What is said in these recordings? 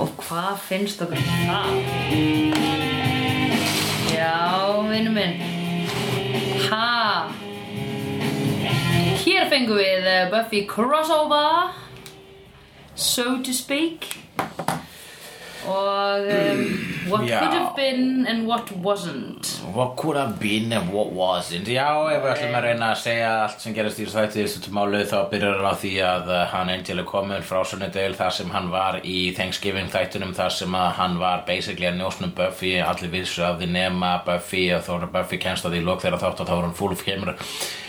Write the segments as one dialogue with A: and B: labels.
A: Og hvað finnst okkur um það? Já, vinnu minn. Ha! Hér fengum við eh, Buffy crossover, so to speak. Og um, what
B: Já.
A: could have been and what wasn't.
B: What could have been and what wasn't Já, ef við ætlum að reyna að segja allt sem gerast í þessu þætti í þessu tumálu þá byrjar hann á því að uh, hann Angel er komin frá sunnudegil þar sem hann var í Thanksgiving þættunum þar sem að hann var basically að njósnum Buffy allir vissu af því nema Buffy og þó er Buffy kennst að því lók þeirra þátt og þá er hann full of kemur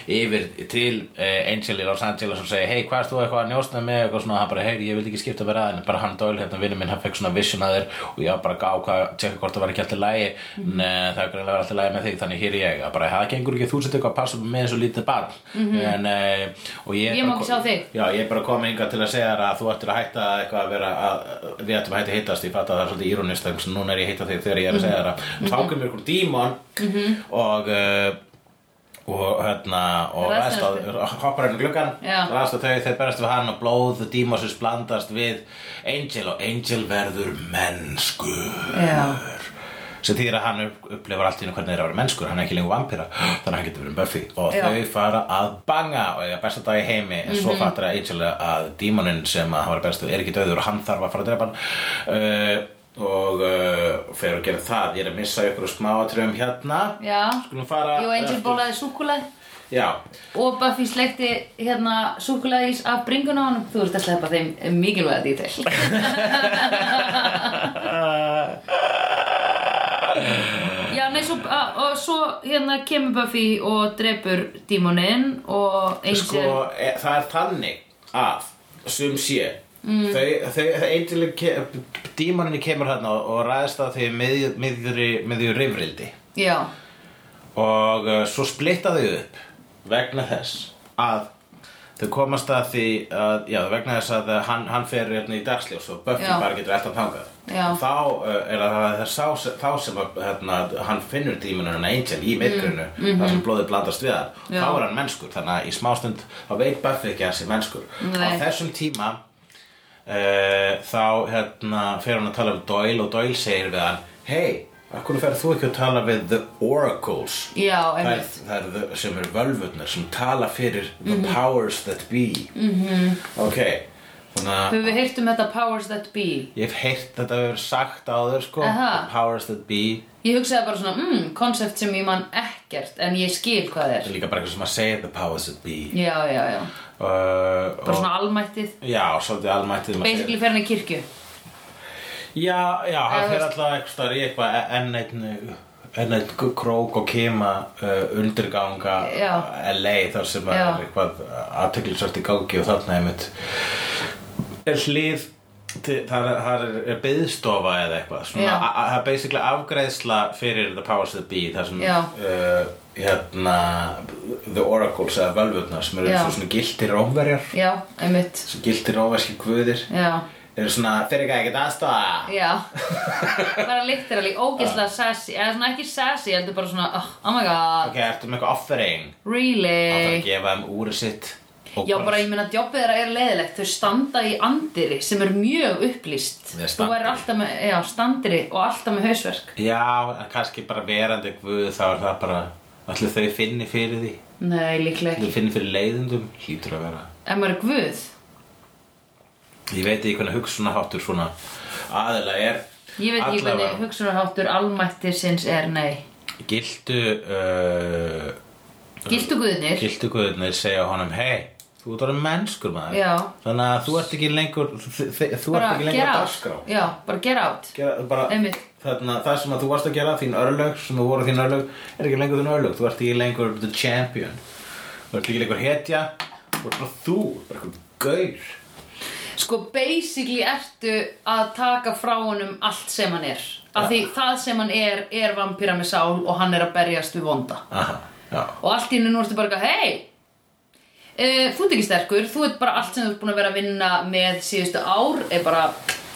B: yfir til uh, Angel í Los Angeles og segi hei, hvað er þú eitthvað að njósna með eitthvað svona, hann bara, hei, ég vildi ekki skipta mér aðeins bara hann Doyle, hérna vinnu minn, hann fekk svona vision að þér og ég var bara að gá hvað, tjekka hvort það var ekki alltaf lægi
A: Mhm.
B: en uh, það er greinlega var alltaf lægi með þig þannig hér er ég, að bara, það gengur ekki þú sett eitthvað að passa með eins og lítið barn en, uh, og ég,
A: Mhm. Ég
B: bara
A: má ekki
B: kom-
A: sjá þig.
B: já, ég er bara komið yngar til að segja þér að þú ættir að hætta eitthvað að vera að, við ættum að hætta að hittast, ég fatt að það er svolítið írónist þannig að núna er ég að hitta þig þegar
A: Mhm.
B: ég er að segja þér að tákum ykkur dímon og uh, og hérna og
A: Ræðst
B: ræðst á- hoppar henni gluggan
A: Já.
B: ræðst á þau, þeir berast við hann og blóð dímosus blandast við Angel og Angel verður mennskur
A: Já.
B: sem þýðir að hann upp- upplifar allt í hennu hvernig þeir eru að vera mennskur hann er ekki lengur vampíra, þannig að hann getur verið um Buffy og
A: Já. Mhm.
B: þau fara að banga og eiga besta dag í heimi, en svo fattar að Angel að dímonin sem að hann var bestu er ekki döður og hann þarf að fara að drepa hann uh, og uh, fyrir að gera það ég er að missa ykkur smáatröfum hérna
A: Já.
B: skulum fara
A: Jú, Angel
B: eftir-
A: bólaði súkulæði
B: já,
A: og Buffy sleikti hérna súkulæðis af bringun á hann þú ert að sleppa þeim mikilvæga dítil já, nei, svo, a- og svo hérna kemur Buffy og drepur dímoninn og Angel
B: sko, e, það er þannig að sum sé mm. þau, þau, þau eindileg ke, dímoninni kemur hérna og ræðist að þau með, meðjur, meðjur rifrildi
A: já,
B: og uh, svo splitta þau upp vegna þess að þau komast að því að, já, vegna þess að uh, hann, hann fer hérna í dagsljós og Buffy
A: Já.
B: bara getur alltaf þangað
A: Já.
B: þá uh, er það, það er sá, sem- þá sem að, hérna, hann finnur dímunum en Angel í meirgrunnu þar sem blóðið blandast við hann
A: Mm, mhm. Já.
B: þá er hann mennskur, þannig að í smástund þá veit Buffy ekki að hann sé mennskur
A: Nei.
B: á þessum tíma uh, þá hérna, fer hann að tala við Doyle og Doyle segir við hann hei, af hverju ferð þú ekki að tala við The Oracles
A: já,
B: það er,
A: einmitt Mhm.
B: það er þau sem eru völvurnar sem tala fyrir the powers that be mm ok þannig að
A: höfum við heyrt um þetta powers that be
B: ég hef heyrt þetta að vera sagt áður sko
A: Aha.
B: the powers that be
A: ég hugsaði bara svona, mm, konsept sem ég man ekkert en ég skil hvað
B: það
A: er
B: er líka bara eitthvað sem að segja the powers that be
A: já, já, já,
B: uh,
A: bara
B: og,
A: svona almættið
B: já, svolítið almættið um maður segir.
A: basically fer hann í kirkju
B: Já, já,
A: Eða
B: hann
A: þú
B: fer
A: veist-
B: alltaf eitthvað staðar í eitthvað e- enn einn enn einn krók og kema uh, undirganga
A: Já.
B: LA þar sem að
A: Já.
B: er eitthvað aðteklisvært í gangi og þarna einmitt er hlýð til- þar er- þar er, er byðstofa eða eitthvað svona,
A: Já.
B: a- a- það er basically afgreiðsla fyrir The Powers That Be þar sem
A: Já.
B: uh, hérna The Oracles eða völvurnar sem eru
A: Já.
B: eins og svona giltir rómverjar
A: já, einmitt
B: sem giltir rómverski guðir
A: já
B: eru svona fyrir ekki ekkert aðstofa
A: Já, bara literally, ógeðslega sassy, eða svona ekki sassy, heldur bara svona, oh, oh my god,
B: Ok, ertu með eitthvað offering? Það þarf að
A: really?
B: gefa þeim úrið sitt og
A: Já, bara ég meina, jobbið þeirra er leiðilegt, þau standa í andiri sem er mjög upplýst.
B: Eða
A: Þú væri
B: standiri.
A: alltaf með, já, standiri og alltaf með hausverk.
B: Já, en kannski bara verandi guð þá er það bara Ætli þau finni fyrir því
A: Nei, líklega
B: Þau
A: ekki.
B: finni fyrir leiðindum Hlýtur að vera
A: En maður er guð.
B: Ég veit ekki hvernig hugsunaháttur svona aðila er
A: Ég veit ekki
B: Allavega.
A: hvernig hugsunarháttur almættir sinns er, nei.
B: Gildu uh,
A: Giltu guðnir?
B: Gildu guðnir segja honum Hei, þú ert orðin mennskur maður
A: Já.
B: Þannig að þú ert ekki lengur Þú, þú ert
A: Bara
B: ekki
A: get
B: lengur að
A: out.
B: dagskrá
A: Já, bara get out.
B: gera, bara,
A: Einmitt.
B: þarna, það sem að þú varst að gera, þín örlög sem þú voru þín örlög, er ekki lengur þín örlög þú ert ekki lengur the champion þú ert ekki lengur hetja þú ert bara þú, bara eitthvað gaur
A: Sko basically ertu að taka frá honum allt sem hann er Af því það sem hann er, er vampíra með sál og hann er að berjast við vonda
B: Aha, já,
A: Og allt í hennu nú ertu bara eitthvað, hei e, Þú ert ekki sterkur, þú ert bara allt sem þú ert búin að vera að vinna með síðustu ár er bara,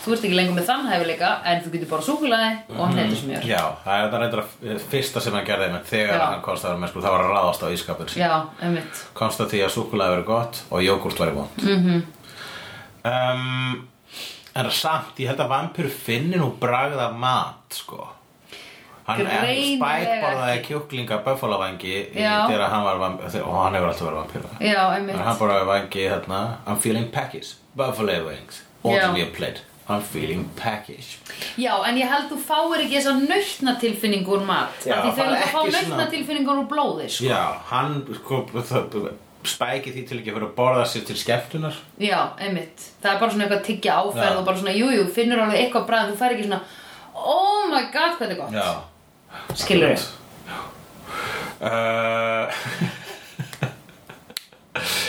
A: þú ert ekki lengur með þann hæfileika en þú getur bara súkulaði og hann heitir sem ég er
B: já það er það reyndar að fyrsta sem hann gerði með þegar
A: Já.
B: hann komst að vera með sko, það var að ráðast á ískapin sín
A: Já, einmitt Mhm.
B: komst að því að súkulaði verið gott og jógurt verið vond mm -hmm. um, En samt, ég held að vampir finni nú bragð af mat, sko. Hann er
A: Greinilega
B: spæk borðaði
A: ekki.
B: kjúklinga böffalavangi
A: Já.
B: þegar hann var vampir, og hann hefur alltaf verið vampir.
A: Já,
B: En
A: einmitt.
B: hann borðaði vangi hérna, I'm feeling peckish, buffalo wings, orderly a plate, I'm feeling peckish.
A: Já, en ég held þú fáir ekki þessa nautnatilfinningu úr mat.
B: Já,
A: Já, því þau
B: bara
A: eru að fá
B: ekki svona-
A: nautnatilfinningu úr blóði, sko.
B: Já, hann, sko, það- spæki því til ekki að fyrir að borða sér til skemmtunar.
A: Já, einmitt. Það er bara svona eitthvað tiggja áferð
B: Já.
A: og bara svona, jú, jú, finnur alveg eitthvað bræð, þú fær ekki svona, oh my god, hvað þetta er gott.
B: Já.
A: Skilurðu?
B: uh,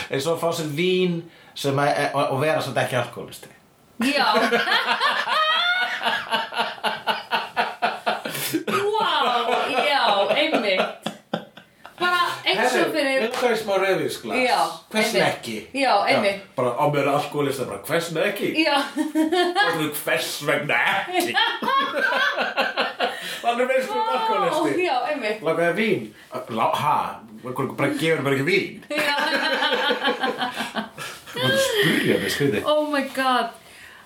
B: eins og að fá sér vín sem að, og, og vera svolítið ekki alkoholisti
A: Já. Vá, já, einmitt. Bara eins og fyrir...
B: Herru, um hvers má rauðvísglas?
A: Já,
B: Hvers
A: einmitt.
B: ekki?
A: Já, einmitt.
B: Bara á mér alkoholista, bara hvers með ekki?
A: Já,
B: Bara hvers vegna ekki? Þannig veist þú
A: Ó,
B: alkoholisti
A: já, einmitt.
B: Lákaði vín Lá, Ha? Bara gefur mér ekki vín Þú mátt spyrja mig skriði
A: Oh my god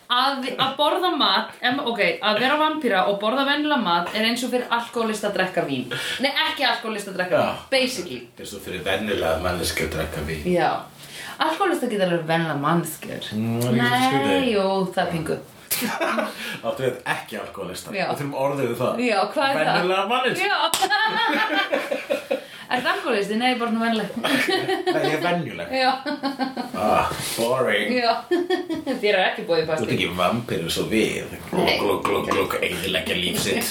A: Að, að borða mat, em, ok, að vera vampíra og borða vennilega mat er eins og fyrir alkoholista að drekka vín Nei, ekki alkoholista að drekka vín,
B: Já.
A: basically
B: Eins og fyrir vennilega manneski að drekka vín
A: Já, alkoholista geta alveg vennilega mannskjör
B: Mm, það er ekki svolítið
A: Nei,
B: skrítið.
A: jú, það er pingu
B: Áttu við ekki alkoholista
A: Já.
B: Við þurfum orðið við það
A: Já, hvað er það?
B: Venjulega mannins
A: Já Er það alkoholisti? Nei, bara nú vennileg
B: Það er venjuleg
A: Já,
B: ah, Boring
A: já, þér er ekki bóðið
B: Þú ert
A: pasti
B: ekki vampir eins og við Glug,
A: Nei.
B: glug, glug, glug Eðilegja líf sitt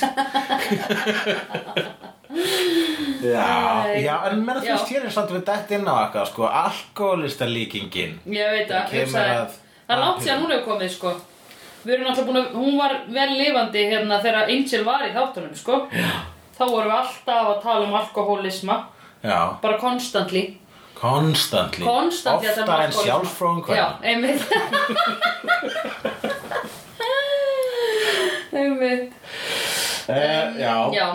B: Já,
A: Nei.
B: já, en menn þú
A: Já.
B: veist hér er samt við dætt inn á eitthvað sko, alkoholista líkingin
A: Ég veit
B: Það
A: það,
B: kemur
A: hugsaði
B: að-
A: Það er langt síðan hún hefur komið sko Við erum alltaf búin að, hún var vel lifandi hérna þegar Angel var í þáttunum sko Já. Þá vorum við alltaf að tala um alkohólisma
B: Já,
A: Bara konstantli
B: konstantli
A: Konstantli að tala um
B: Oftar en
A: alkohólisma.
B: sjálfsfróðan
A: Já,
B: hvernig
A: einmitt Einmitt
B: uh, Já,
A: Já,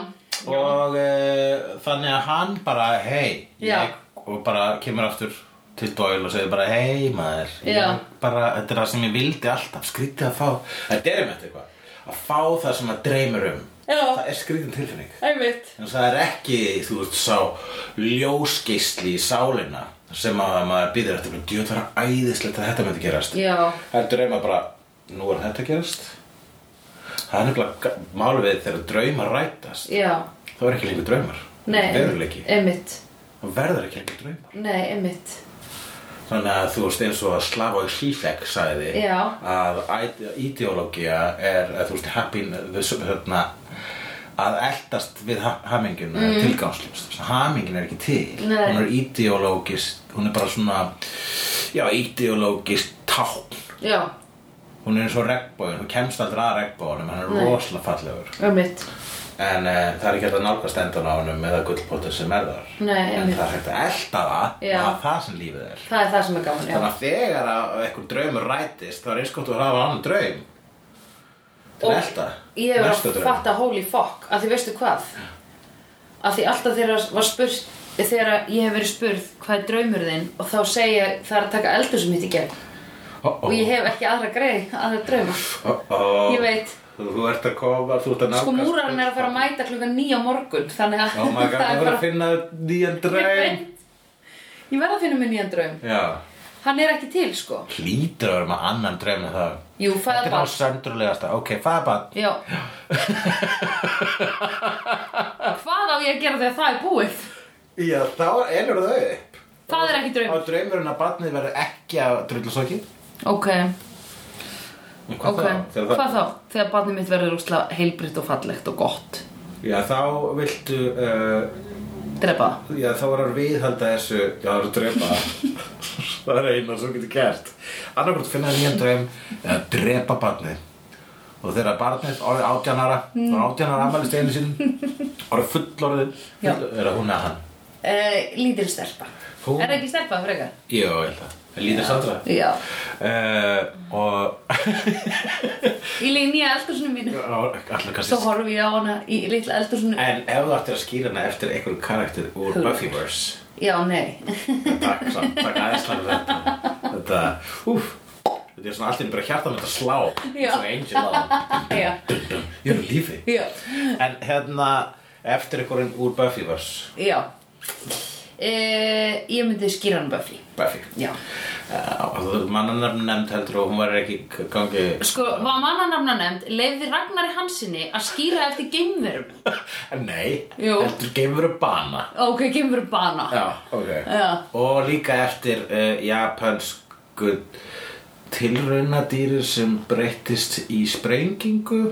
B: Og uh, þannig að hann bara, hei,
A: Já.
B: ég, og bara kemur aftur til Doyle og segir bara, hei maður,
A: Já.
B: ég, bara, þetta er það sem ég vildi alltaf, skrítið að fá, þetta er um eitthvað, að fá það sem að dreymir um,
A: Já.
B: það er skrítin tilfinning.
A: einmitt
B: En það er ekki, þú veist, sá ljósgeisli í sálina sem að maður býður eftir, bara, djú, það er æðislegt að þetta myndi gerast.
A: Já.
B: Það er drauma bara, nú er þetta að gerast. Það er nefnilega málið við þegar draumar rætast.
A: Já,
B: Það verður ekki lengur draumar.
A: nei
B: Veruleiki.
A: Einmitt,
B: Það verður ekki lengur draumar.
A: nei, einmitt
B: Þannig að þú veist eins og að Slavoj Žižek sagði
A: Já.
B: að ide- ideológía er, að þú veist, happin, þessu, hérna, að eldast við ha haminginu mm. tilgangslust. Hamingin er ekki til.
A: Mhm. Nei.
B: Hún er ideológist, hún er bara svona, já, ideológist tán.
A: Já,
B: Hún er eins og regnbóin, hún kemst aldrei að regnbóinum, hann er
A: Nei.
B: rosalega fallegur.
A: einmitt
B: En uh, það er ekki hægt að nálgast endan á honum eða gullpótið sem er þar.
A: Nei,
B: en
A: einmitt.
B: það er hægt að elta það
A: Já.
B: og það er það sem lífið er.
A: Það er það sem er gaman, já
B: Þannig að þegar að einhver draumur rætist þá er eins gott að hafa annan draum. Til
A: Og
B: að elta.
A: Ég er
B: Næsta
A: að
B: draum.
A: fatta holy fuck að því veistu hvað að því alltaf þegar var spurt þegar ég hef verið spurð hvað er draumur þinn og þá segja ég, það er að taka eldur sem hitt í gegn
B: Ó, ó,
A: og ég hef ekki aðra greið aðra drauma
B: ó, ó.
A: Ég veit.
B: Þú, þú ert að koma, þú ert að nálgast.
A: sko múrarinn er að fara að mæta klukkan nýja morgun þannig að
B: Oh my
A: það
B: god,
A: er
B: þú verður að
A: bara
B: finna nýjan draum.
A: ég verð að finna mér nýjan draum
B: Já.
A: hann er ekki til sko
B: Hlýtur að vera með annan draum en það.
A: jú,
B: Þetta er
A: fæðabarn
B: hans söndrulegasta. Ok, fæðabann.
A: já hvað á ég að gera þegar það er búið
B: Já, þá elur þau upp.
A: það er ekki
B: Á
A: draum
B: draumurinn að barnið verður ekki að drulla sokki?
A: ok
B: Hvað
A: Ok,
B: Þegar
A: hvað þá? Þegar barnið mitt verður úrslega heilbritt og fallegt og gott
B: Já, þá viltu, uh,
A: Drepa það
B: já, þá verður viðhalda þessu, já, það verður drepa. það er eina sem getur gert. Annarkvæmt finna þér nýjan draum eða drepa barnið. Og þegar barnið orðið átjánara, mm. átjánara afmælist einu sín, orðið fullorðið,
A: Já.
B: full, er það hún að hann?
A: uh, Lítil stelpa
B: Þú?
A: Er það ekki stelpa frekar?
B: Jó, ég held það. Það lítið sandra.
A: Já
B: Uh, og
A: Í linja eldursunum mínu
B: allir kannski
A: Svo horfi ég á hana í litla eldursunum
B: En ef þú ættir að skýra hana eftir einhverjum karakter úr
A: Who?
B: Buffyverse
A: Já, nei
B: Takk samt, takk aðeinslega þetta Þetta, úf Þetta er svona allt í einu bara hjarta mitt að slá
A: Já.
B: Svo Angel á hann
A: Já,
B: Ég er á lífi
A: já,
B: En hérna, eftir einhverjum úr Buffyverse
A: já. E, ég myndi skýra hann Buffy.
B: Buffy
A: Já.
B: uh, Mannanarm nefnd heldur og hún var ekki k- gangi
A: Sko, var mannanamna nefnd, leiði Ragnari Hansinni að skýra eftir geimverum.
B: Nei,
A: Jú.
B: heldur geimur bana
A: Ok, geimverum bana.
B: Já, ok
A: Já.
B: Og líka eftir uh, japansku tilraunadýri sem breyttist í sprengingu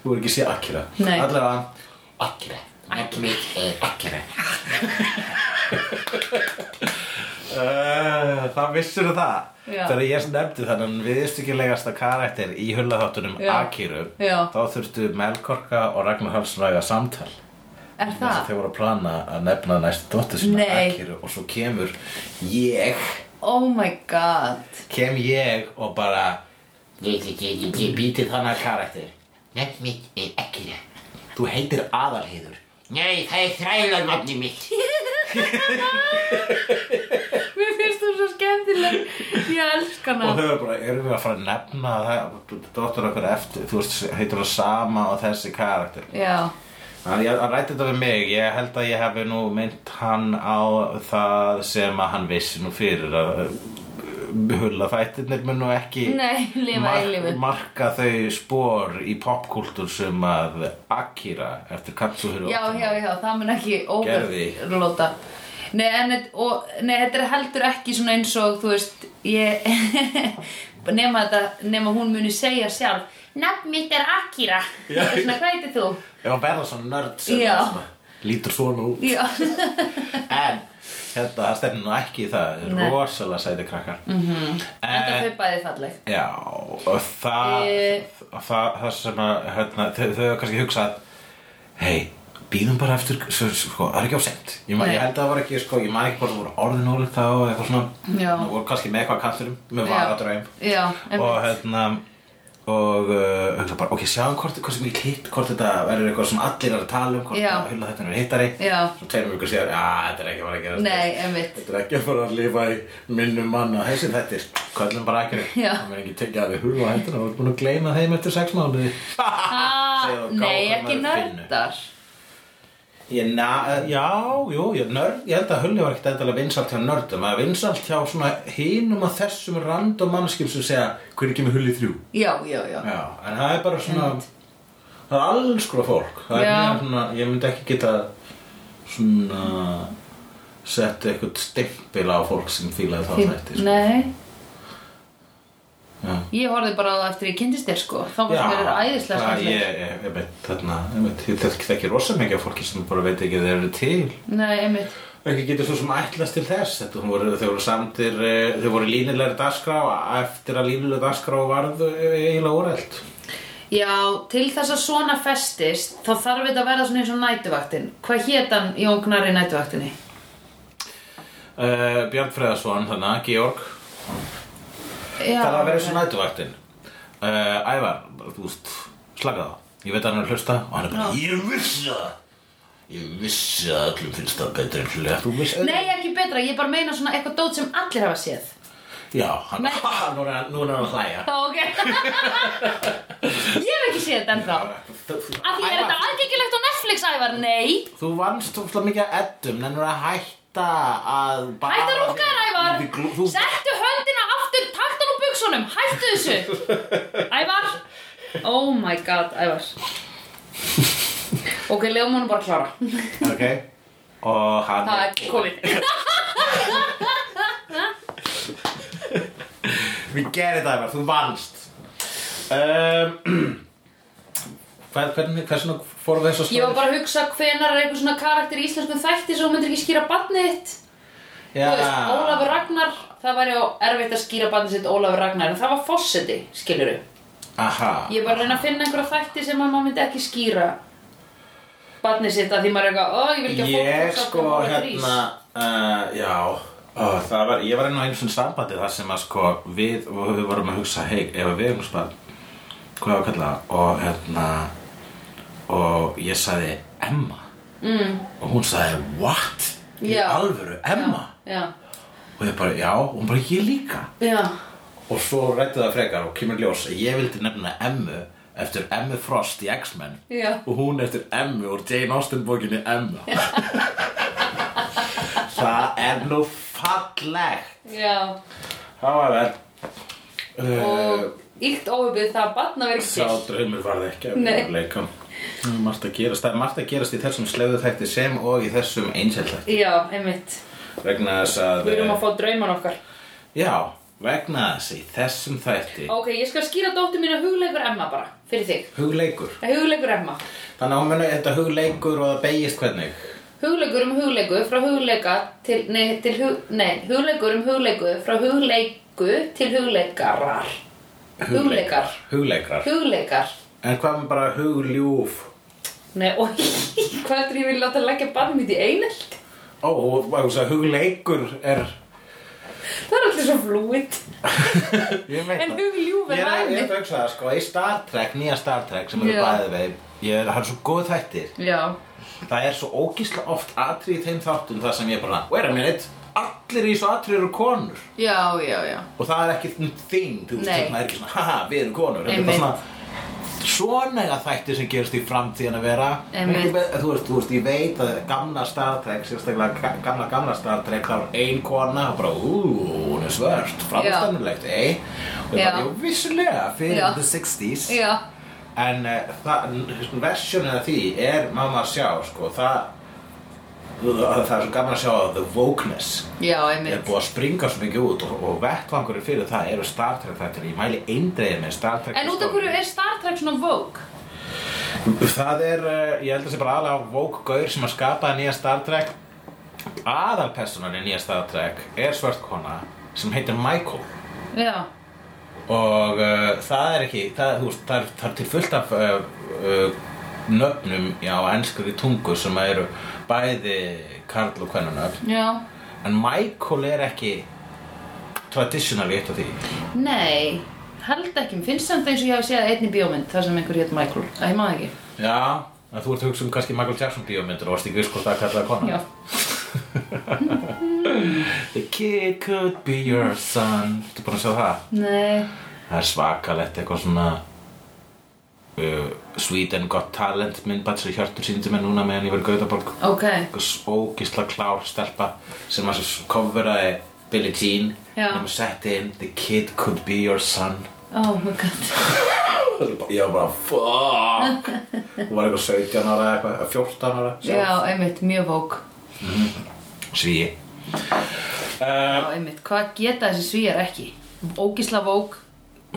B: Þú er ekki séð Akira
A: Nei.
B: Allavega Akira Nafnið mitt er Akira Uh, það vissur það
A: Já.
B: Þegar ég nefndi þannig viðstyggilegasta karakter í hullaþáttunum
A: Já.
B: Akiru
A: Já.
B: þá þurftu Melkorka og Ragnar Hallsson að eiga samtal
A: Er
B: Þess að
A: það?
B: þau voru að plana að nefna næstu dóttir sinna
A: Nei.
B: Akiru og svo kemur ég
A: Oh my god.
B: kem ég og bara ég, ég, ég, ég, ég býti þannig karakter
C: Nefn mitt er Akira.
B: þú heitir aðalheiður
C: Nei, það er þrælarnafni mitt.
A: Mér finnst þú svo skemmtileg. Ég elska
B: og
A: hana.
B: þau eru bara, erum við að fara að nefna það, dóttir okkur eftir þú veist, heitir það sama og þessi karakter
A: Já,
B: Þannig að að ræta þetta við mig, ég held að ég hefði nú mynd hann á það sem að hann vissi nú fyrir að uh, hulla þættirnir mun nú ekki
A: Nei, lifa eilífu.
B: marka þau spór í popkúltúr sem að Akira eftir Katsuhuru
A: já, já, já, það mun ekki
B: Gerði.
A: overlóta. Nei, en þetta- og, nei, þetta er heldur ekki svona eins og, þú veist, ég, nema þetta, nema hún muni segja sjálf, nafn mitt er Akira.
B: Já.
A: Það er svona, hvað heitir þú?
B: Ef að verða svona nörd sem
A: Já.
B: að svona, lítur svona út
A: Já,
B: en þetta það stefnir nú ekki í það, Þau eru
A: Nei. Mhm.
B: rosalega sæti krakkar mm -hmm.
A: enda þau bæði falleg.
B: Já, og það,
A: Eh.
B: það, það sem að, hérna, þau, þau hefur kannski hugsað, hei, býðum bara eftir, svo, sko, það er ekki á sent. Ég, man,
A: Nei.
B: ég held að það var ekki, sko, ég man ekki hvort það voru orðin ólíkt þá eða eitthvað svona,
A: Já.
B: það voru kannski með eitthvað kanturum, með varadraum
A: Já, en
B: og hérna, og uh, hugsa bara, ok, sjáum hvort, hvort sem ég klitt, hvort þetta verður eitthvað sem allir er að tala um, hvort
A: Já.
B: það hula þetta er hittari,
A: Já.
B: svo tveimur ykkur síðar, að þetta er ekki að fara að gera
A: Nei, einmitt.
B: Þetta er ekki að fara að lifa í minnum manna Þessi þetta er köllum bara ekki
A: Já.
B: Það verður ekki tekið að við huga á hendina og búin að gleyma þeim eftir sex mánuði Segðu
A: Ah,
B: og
A: nei,
B: gáðu
A: ekki
B: maður finnu.
A: nördar.
B: ég, na, eh, Já, jú, ég, nörd, ég held að hulli var ekkert endalega vinsalt hjá nördum Það er vinsalt hjá svona hinum að þessum random mannskip sem segja Hvernig kemur hulli þrjú?
A: Já, já, já.
B: Já, en það er bara svona Það er alls konar fólk Það er
A: Já.
B: mjög svona, ég myndi ekki geta svona settu eitthvað stimpil á fólk sem fílaði þá þætti sko.
A: Nei.
B: Já.
A: Ég horfði bara á það eftir ég kynntist þér sko. Þá fannst mér þetta æðislega
B: það
A: skemmtilegt.
B: ég, ég, ég veit þarna, ég veit, ég þekki þekki rosa mikið af fólki sem bara veit ekki að þeir eru til.
A: Nei, einmitt.
B: Ekki getur svo sem ætlast til þess, þetta hún voru, þau voru samtir, eh, þau voru línilegri dagskrá, eftir að línilegri dagskrá varð eh, eiginlega úrælt.
A: Já, til þess að svona festist, þá þarf þetta að verða svona eins og nætuvaktin. Hvað hét hann Jón Gnar í nætuvaktinni?
B: Uh, Björn Freðarsson, þannig að Georg,
A: Já,
B: það var að vera svo nætuvaktinn. Uh, Ævar, þú veist, slakaði á. Ég veit að hann er að hlusta og hann er bara, ég vissi það. Ég vissi að öllum finnst það betur en hlusta. Þú vissi
A: Nei, ekki betra. Ég bara meina svona eitthvað dót sem allir hafa séð.
B: Já, hann,
A: Nei.
B: ha, nú er hann nú er hann að hlæja.
A: Já, ok. ég hef ekki séð þetta ennþá. Af því er þetta aðgengilegt á Netflix, Ævar? Nei.
B: Þú vannst óslega mikið að eddum, en þú er að hætta að bara...
A: Hættu að rúka þér, Ævar!
B: Þú- Þú,
A: Settu höndina aftur, taktu hann úr buksunum, hættu þessu! Ævar! Oh my god, Ævar. Ok, lefum honum bara að klára.
B: ok. Og hann...
A: Það er komið.
B: Við gerum þetta, Ævar, þú vannst. Um, hvað, hvernig, hversu nú fórum við þess að
A: Ég var bara að hugsa hvenar er einhver svona karakter í íslenskum þætti sem þú myndir ekki skýra barnið þitt. Þú veist, Ólafur Ragnar, það væri á erfitt að skýra barnið sitt Ólafur Ragnar, en það var fósetti, skilur
B: Aha.
A: Ég var að reyna að finna einhverja þætti sem að maður myndi ekki skýra barnið sitt að því maður er eitthvað, ó, ég vil ekki að fólk
B: Ég
A: fólk-
B: sko,
A: fólk- fólk-
B: hérna, uh, já... Ó, það var, ég var enn á einu svona sambandi þar sem að sko við, og við vorum að hugsa, hei, ef við erum spart, hvað var að kalla það? Og hérna, og ég sagði Emma. Mm. Og hún sagði, what? Í
A: Já.
B: alvöru, Emma?
A: Já,
B: Og ég bara, já, og hún bara, ég líka.
A: já,
B: og svo rættu það frekar og kemur ljós að ég vildi nefna Emmu eftir Emmu Frost í X-Men
A: Já.
B: og hún eftir Emmu úr Jane Austen bókinni Emma það er nú fallegt
A: Já,
B: það var vel
A: og
B: uh,
A: íkt óöfið það að batna verið
B: sá
A: ekki til.
B: draumur var það ekki
A: Nei.
B: að leika Það er margt að gerast, það er margt að gerast í þessum slegðu þætti sem og í þessum einseltætti
A: Já, einmitt.
B: vegna þess að eh,
A: Við erum að fá drauman okkar.
B: Já, vegna þess í þessum þætti
A: Ok, ég skal skýra dóttur mín að hugleikur Emma bara, fyrir þig.
B: Hugleikur
A: Það er hugleikur Emma.
B: Þannig að hún muni þetta hugleikur og það beigist hvernig
A: Hugleikur um hugleiku frá hugleika til, nei, til hug, nei, hugleikur um hugleiku frá hugleiku til hugleikarar. Hugleikar.
B: Hugleikrar
A: Hugleikar.
B: En hvað með bara hugljúf
A: Nei, oi, hvað er ég vil láta leggja barnum mitt í einelt?
B: Ó, og og þess að hugleikur er
A: Það er alltaf svo flúið.
B: Ég veit
A: En hugljúf
B: Ég
A: er
B: er að ég er
A: aðeins.
B: að hugsa það sko Í Star Trek, nýja Star Trek sem eru
A: Já.
B: bæðið veið Ég er, það er svo góð þættir
A: Já,
B: Það er svo ógísla oft atrið í þeim þáttum Það sem ég er bara, wait a minute Allir í þessu atrið eru konur
A: já, já, já.
B: og það er ekki um þing þú veist,
A: Nei.
B: það er ekki svona, haha, við erum konur þetta er
A: Einmitt.
B: bara svona svona eiga þættir sem gerist í framtíðan að vera
A: Einmitt.
B: Ekki með- þú veist, þú veist, ég veit að gamla Star Trek sérstaklega ga- gamla, gamla Star Trek þá er ein kona og bara, ú, hún er svört framstæðnulegt, ei og ég
A: Já.
B: bara, jú, vissulega, fyrir
A: Já.
B: the 60s
A: Já,
B: en uh, það, versjónin af því er mamma að sjá, sko, það það er svo gaman að sjá the wokeness
A: já,
B: er
A: einmitt.
B: búið að springa svo mikið út og, og vettvangurinn fyrir það eru Star Trek þættir ég mæli eindreið með Star Trek
A: En út af hverju er Star Trek svona vók?
B: það er, eh, ég held að sé bara aðlega Vók Gaur sem að skapa nýja Star Trek aðalpersonan í nýja Star Trek er svört kona sem heitir Michael
A: Já,
B: og uh, það er ekki það, þú veist, það, er, það er til fullt af uh, uh, nöfnum á enskri tungu sem eru bæði karl og kvennunöfn
A: já.
B: en Michael er ekki traditionally eitt af því
A: Nei, held ekki. Mér finnst samt eins og ég hafi séð einni bíómynd þar sem einhver hétt Michael. Það hef maður ekki.
B: Já, en þú ert að hugsa um kannski Michael Jackson bíómyndur og varst ekki viss hvort það kallaði kona
A: Já.
B: The kid could be your son Þú búin að sjá það?
A: Nei.
B: Það er svakalegt eitthvað svona uh, Sweden Got Talent myndbætt sem Hjörtur síndi mér núna meðan ég var í Gautaborg
A: Ok.
B: Eitthvað ógisla klár stelpa sem að svo coveraði Billie Jean
A: Já.
B: nema setti inn The kid could be your son
A: Oh my god.
B: Ég var bara fuck Hún var eitthvað 17 ára eða eitthvað 14 ára
A: Já, einmitt, mjög vók.
B: Svíi Um,
A: Já, einmitt. Hvað geta þessi svíjar ekki? Ógísla vók.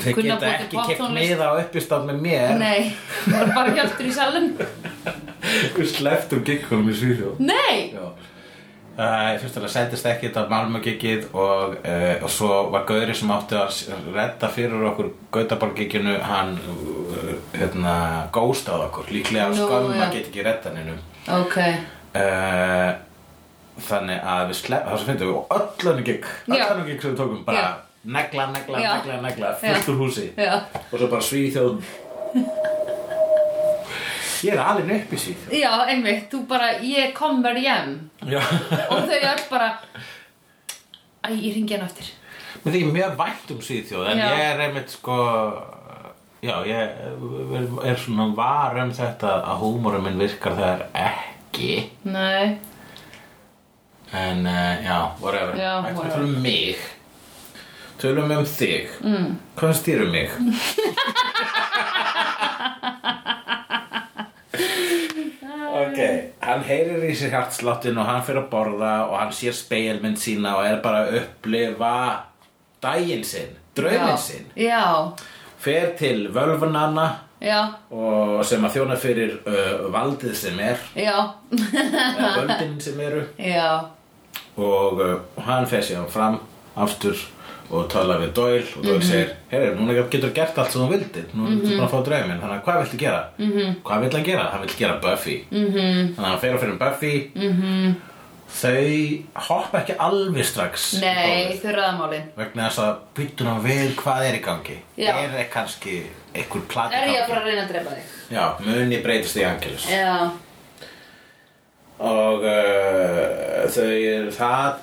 B: Þeir
A: kunna
B: geta
A: búa til
B: ekki kekt
A: popptónlist.
B: miða á uppistátt með mér
A: Nei, það er bara hjálptur í salum.
B: Við sleftum giggunum í Svíðjó
A: Nei!
B: Uh, fyrst alveg sendist ekki þetta Malmögiggið og, uh, og svo var Gauri sem átti að s- redda fyrir okkur Gautaborgigginu hann uh, hérna, góstað okkur líklega
A: Nú,
B: no, skömm
A: já.
B: að geta ekki redda neinum
A: Ok.
B: uh, þannig að við slepp það sem finnum við og öll önnu gigg öll
A: Já.
B: önnu gigg sem við tókum bara
A: Já.
B: negla, negla,
A: Já.
B: negla, negla
A: Já.
B: fullt úr húsi
A: Já.
B: og svo bara Svíþjóð ég er alveg upp í Svíþjóð
A: Já, einmitt. Þú bara, ég kom verið hjem.
B: Já.
A: Og þau öll bara... Æ, ég ringi hann aftur.
B: Mér þykir mjög vænt um Svíþjóð en
A: Já.
B: ég er einmitt sko já, ég er, er svona var um þetta að húmórum minn virkar þegar ekki
A: Nei.
B: en uh, já, whatever
A: Já,
B: Ættum
A: whatever.
B: við tölum um mig tölum um þig mm. hvað stýrum mig? Ok, hann heyrir í sér hjartsláttinn og hann fyrir að borða og hann sér speilmynd sína og er bara að upplifa daginn sinn, drauminn sinn.
A: Já.
B: Fer til völvunanna
A: Já.
B: og sem að þjóna fyrir uh, valdið sem er,
A: Já.
B: eða völdin sem eru
A: Já.
B: og uh, hann fer sér fram aftur og tala við Doyle og
A: Mhm.
B: Doyle segir, heyrðu, núna getur gert allt sem þú vildir, nú mm -hmm. búin að fá drauminn þannig að hvað viltu gera? Mm
A: Mhm.
B: -hmm. hvað vill hann gera? hann vill gera Buffy mm -hmm. þannig að hann fer og fyrir um Buffy mm
A: Mhm.
B: -hmm. þau hoppa ekki alveg strax í
A: Nei,
B: gólfið.
A: þau ræðamálin.
B: vegna þess að byttu nú við hvað er í gangi
A: Já.
B: er það kannski einhver plati
A: Er ég að fara að reyna að drepa þig?
B: já, muni breytist í Angelus
A: Já.
B: og uh, þau það,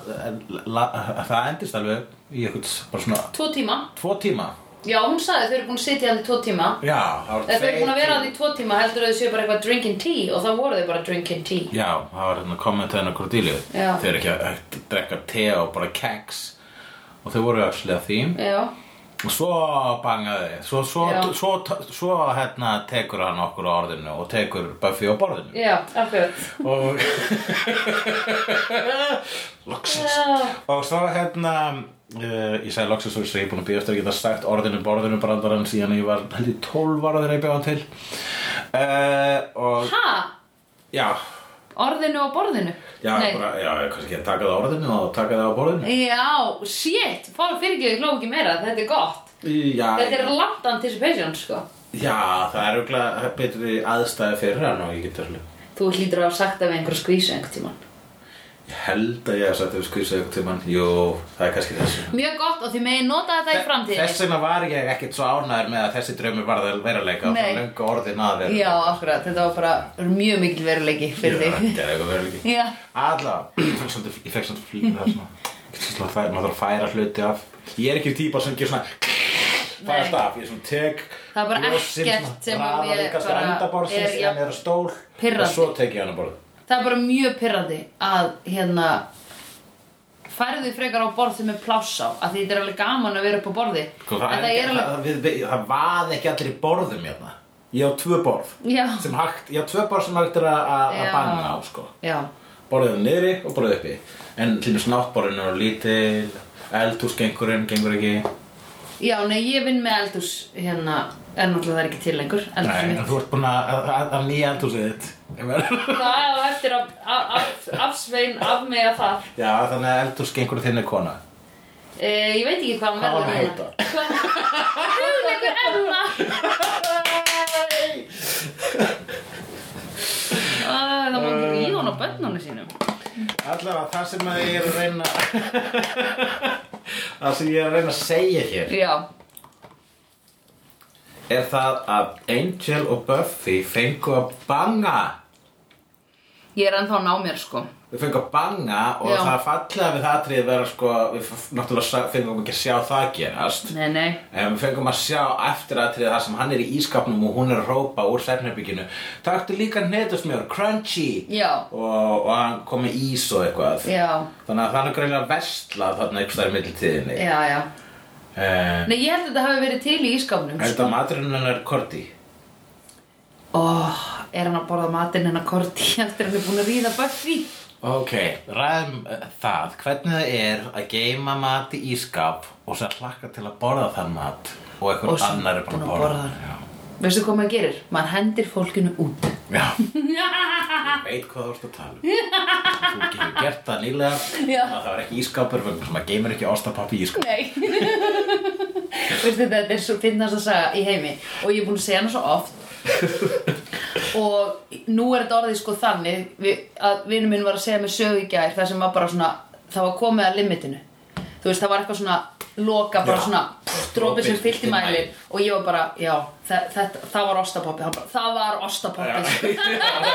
B: la, það endist alveg í eitthvað bara svona
A: Tvo tíma.
B: tvo tíma
A: Já, hún sagði þau eru búin að sitja hann í tvo tíma.
B: já, það var
A: Eða þau eru búin að vera
B: tveir-
A: hann í tvo tíma heldur þau séu bara eitthvað drinking tea og þá voru þau bara drinking tea.
B: já, það var hérna kommentaðin á Cordelia
A: Já.
B: þau eru ekki að, að drekka te og bara keks og þau voru öxlið að því
A: Já.
B: og svo bangaði svo, svo,
A: Já.
B: svo, svo, hérna tekur hann okkur á orðinu og tekur Buffy á borðinu
A: Já, akkurat.
B: og loksins
A: Já.
B: og svo hérna uh, ég sagði loksins og ég er búin að býja eftir að geta sagt orðinu borðinu brandarann síðan ég var held ég 12 ára þegar ég bjóðan til uh, og
A: Ha?
B: já
A: Orðinu og borðinu?
B: já,
A: Nei.
B: bara, já, kannski ég taka það á orðinu og taka það á borðinu
A: Já, shit, fá fyrirgefið ég hló ekki meira, þetta er gott.
B: já,
A: Þetta er langt anticipation, sko.
B: já, það er auðvitað betri aðstæði fyrir hann og ég get þessu
A: Þú hlýtur að hafa sagt af einhverja skvísu einhvern tímann.
B: ég held að ég hef sagt ef skvísa ykkur tímann jú, það er kannski þessu
A: Mjög gott og því megi nota þetta í framtíðinni.
B: Þess vegna var ég ekkert svo ánæður með að þessi draumur var það veruleika og
A: Nei.
B: það löngu orðin að vera
A: Já, akkurat, þetta var bara mjög mikil veruleiki fyrir þig.
B: Þetta er eitthvað veruleiki
A: Já,
B: Alla, ég fekk svona flýta það svona Ég finnst svona að færa- Maður þarf að færa hluti af Ég er ekki típa sem ger svona
A: Nei.
B: Færast af, ég er svona tek
A: Það er bara ekkert sem að ég
B: ég
A: bara
B: bara
A: er-
B: er
A: já.
B: En er á stól
A: Pirrandi.
B: Og svo tek ég hann að borð
A: það er bara mjög pirrandi að hérna færðu frekar á borð sem er pláss á af því þetta er alveg gaman að vera upp á borði
B: Sko,
A: en
B: það,
A: það er alveg
B: það, við, við, það vaði ekki allir í borðum hérna Ég á tvö borð
A: Já.
B: sem hægt, Ég á tvö borð sem hægt er að- að
A: Já.
B: að banna á sko.
A: Já,
B: borðið niðri og borðið uppi en hlýnum snáttborðinu er lítil eldhúsgengurinn gengur ekki
A: já, nei, ég vinn með eldhús hérna, en náttúrulega það er ekki til lengur eldhús
B: Nei,
A: mitt.
B: þú ert búin að, að, að- að nýja eldhúsið þitt Ég meina-
A: Það á eftir að af- af- afsvein af mig að það
B: Já, þannig að eldhúsgengurinn þinn er kona
A: e, Ég veit ekki hvað hann
B: Hvað á
A: verður
B: hann að
A: núna. Hvað- Hugleikur Emma Æ, Það má ekki í hún á bönnunum sínum
B: Allavega, það sem að ég er að reyna það sem ég er að reyna að segja hér
A: Já,
B: er það að Angel og Buffy fengu að banga
A: ég er ennþá að ná mér sko
B: Við fengum að banga og
A: Já.
B: það er fallega við það atriði vera sko, við f- náttúrulega sa- fengum ekki að sjá það gerast
A: Nei, nei
B: En Eh, við fengum að sjá eftir aðtrið það sem hann er í ískapnum og hún er að rópa úr svefnherbygginu Taktu líka hnetusmjör, crunchy
A: Já.
B: og, og hann kom með ís og eitthvað
A: Já.
B: Þannig að það er greinlega að versla þarna einhvers þar í millitíðinni
A: Já, já
B: En
A: Nei, ég held að þetta hafi verið til í ískapnum
B: þetta maturinn hennar Korti
A: Ó, er hann að borða matinn hennar Korti eftir hann er búin að ríða Buffy
B: Ok, ræðum eh, það hvernig það er að geima mat í ískap og sér hlakka til að borða þann mat og
A: Og
B: einhver
A: svo
B: annar er búin að borða
A: hann. Veistu hvað maður gerir? Maður hendir fólkinu út
B: Já, ég veit hvað þú ert að tala um Þú getur gert það nýlega
A: Já.
B: að Það var ekki ískapur vegna sem að geymir ekki ástapappi í ískap
A: Nei Veistu þetta, þetta er svo finnast að saga í heimi og ég er búin að segja hana svo oft og nú er þetta orðið sko þannig við, að vinur minn var að segja mér sögu í gær þar sem var bara svona, það var komið að limitinu þú veist, það var eitthvað svona loka, bara
B: Já.
A: svona pff, dropi sem fyllti mæli og ég var bara, já, þa- þetta, það var ostapoppi Hann bara, það var ostapoppi